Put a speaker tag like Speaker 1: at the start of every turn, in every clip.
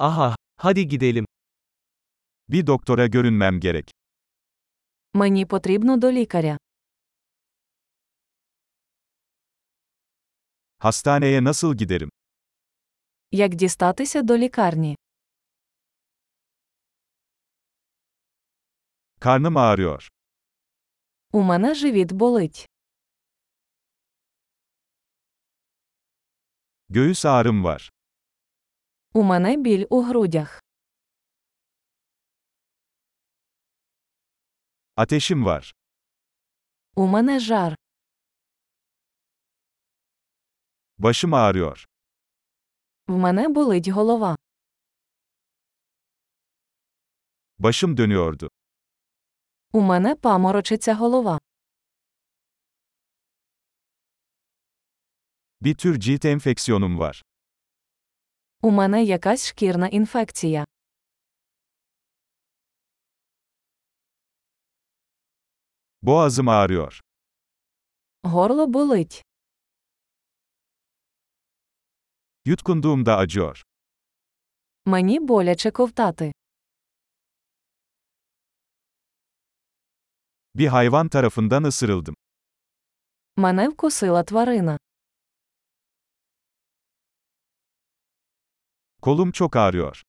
Speaker 1: Aha, hadi gidelim.
Speaker 2: Bir doktora görünmem gerek.
Speaker 3: Мені потрібно до лікаря.
Speaker 2: Hastaneye nasıl giderim?
Speaker 3: Як дістатися до лікарні?
Speaker 2: Karnım ağrıyor.
Speaker 3: У мене живіт болить.
Speaker 2: Göğüs ağrım var.
Speaker 3: У мене біль у грудях.
Speaker 2: Ateşim var.
Speaker 3: У мене жар.
Speaker 2: Başım ağrıyor.
Speaker 3: В мене болить голова.
Speaker 2: Başım dönüyordu.
Speaker 3: У мене паморочиться голова.
Speaker 2: Bir tür cilt enfeksiyonum var.
Speaker 3: У мене якась шкірна інфекція.
Speaker 2: Boğazım ağrıyor.
Speaker 3: Горло болить.
Speaker 2: Yutkunduğumda acıyor.
Speaker 3: Мені боляче ковтати.
Speaker 2: Bir hayvan tarafından ısırıldım.
Speaker 3: Мене вкусила тварина.
Speaker 2: Kolum çok ağrıyor.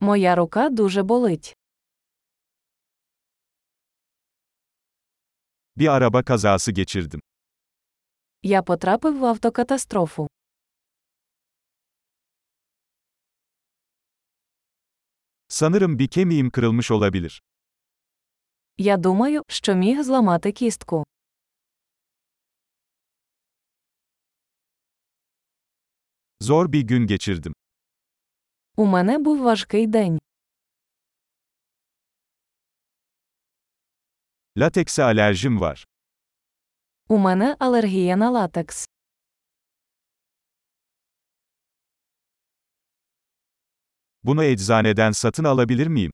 Speaker 3: Моя рука дуже болить.
Speaker 2: Bir araba kazası geçirdim.
Speaker 3: Я потрапив в автокатастрофу.
Speaker 2: Sanırım bir kemiğim kırılmış olabilir.
Speaker 3: Я думаю, що міг зламати кістку.
Speaker 2: Zor bir gün geçirdim.
Speaker 3: У мене був важкий день.
Speaker 2: Latekse alerjim var.
Speaker 3: У мене алергія на латекс.
Speaker 2: Bunu eczaneden satın alabilir miyim?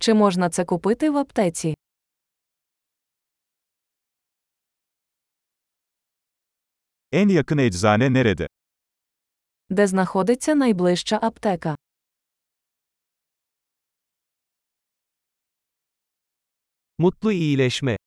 Speaker 3: Чи можна це купити в аптеці?
Speaker 2: En yakın eczane nerede?
Speaker 3: Де знаходиться найближча аптека?
Speaker 1: Mutlu iyileşme.